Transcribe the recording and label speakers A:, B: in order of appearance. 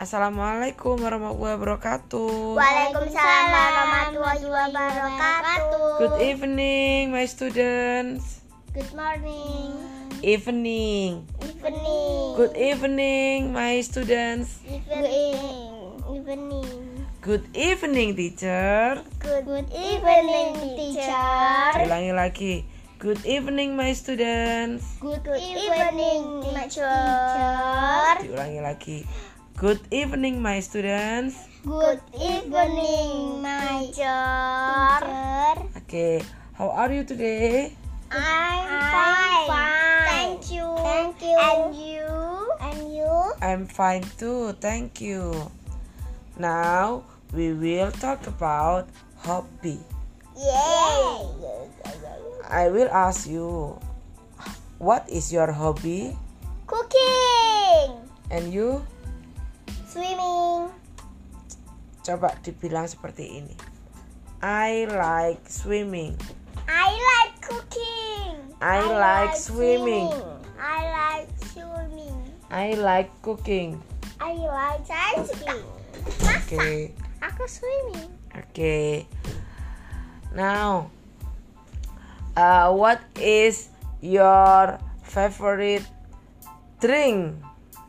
A: Assalamualaikum warahmatullahi wabarakatuh.
B: Waalaikumsalam warahmatullahi wabarakatuh.
A: Good evening, my students.
B: Good morning.
A: Evening.
B: Evening.
A: Good evening, my students.
B: Evening. Evening.
A: Good evening, teacher.
B: Good, evening, teacher.
A: Ulangi lagi. Good evening, my students.
B: Good, evening, teacher.
A: Diulangi lagi. Good evening, my students.
B: Good evening, my teacher.
A: Okay, how are you today?
B: I'm fine. Thank you. Thank you. And you? And you?
A: I'm fine too, thank you. Now we will talk about hobby.
B: Yay.
A: I will ask you, what is your hobby?
B: Cooking.
A: And you
B: Swimming.
A: coba dibilang seperti ini. I like swimming.
B: I like cooking.
A: I like swimming.
B: I like swimming.
A: I like cooking.
B: I like dancing.
A: Oke,
B: Aku swimming.
A: oke. Now, uh, what is your favorite drink?